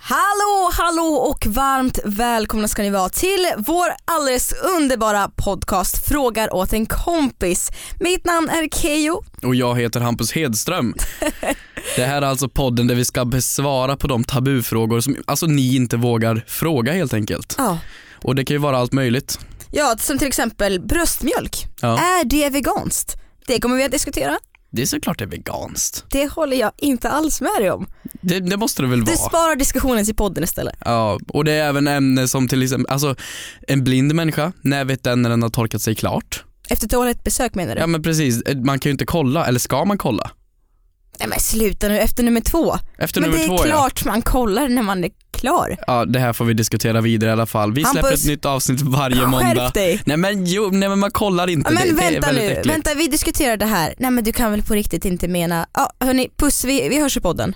Hallå, hallå och varmt välkomna ska ni vara till vår alldeles underbara podcast Frågar åt en kompis. Mitt namn är Kejo. Och jag heter Hampus Hedström. Det här är alltså podden där vi ska besvara på de tabufrågor som alltså ni inte vågar fråga helt enkelt. Ja. Och det kan ju vara allt möjligt. ja, som till exempel bröstmjölk. Ja. Är det veganskt? Det kommer vi att diskutera. Det är såklart det är veganskt. Det håller jag inte alls med dig om. Det, det måste det väl Du vara? sparar diskussionen till podden istället. Ja, och det är även ämnen som till exempel, alltså en blind människa, när vet den när den har torkat sig klart? Efter toalettbesök menar du? Ja men precis, Eh, man kan ju inte kolla, eller ska man kolla? Nej men sluta nu, efter nummer två. Efter men nummer det är två ja. klart man kollar när man är klar. Ja, det här får vi diskutera vidare i alla fall. Vi släpper Hampus. ett nytt avsnitt varje måndag. Skärp dig. Nej men jo, nej men man kollar inte. Ja, men det, det är vänta väldigt nu, äckligt. vänta vi diskuterar det här. Nej men du kan väl på riktigt inte mena, ja hörni puss vi, vi hörs i podden.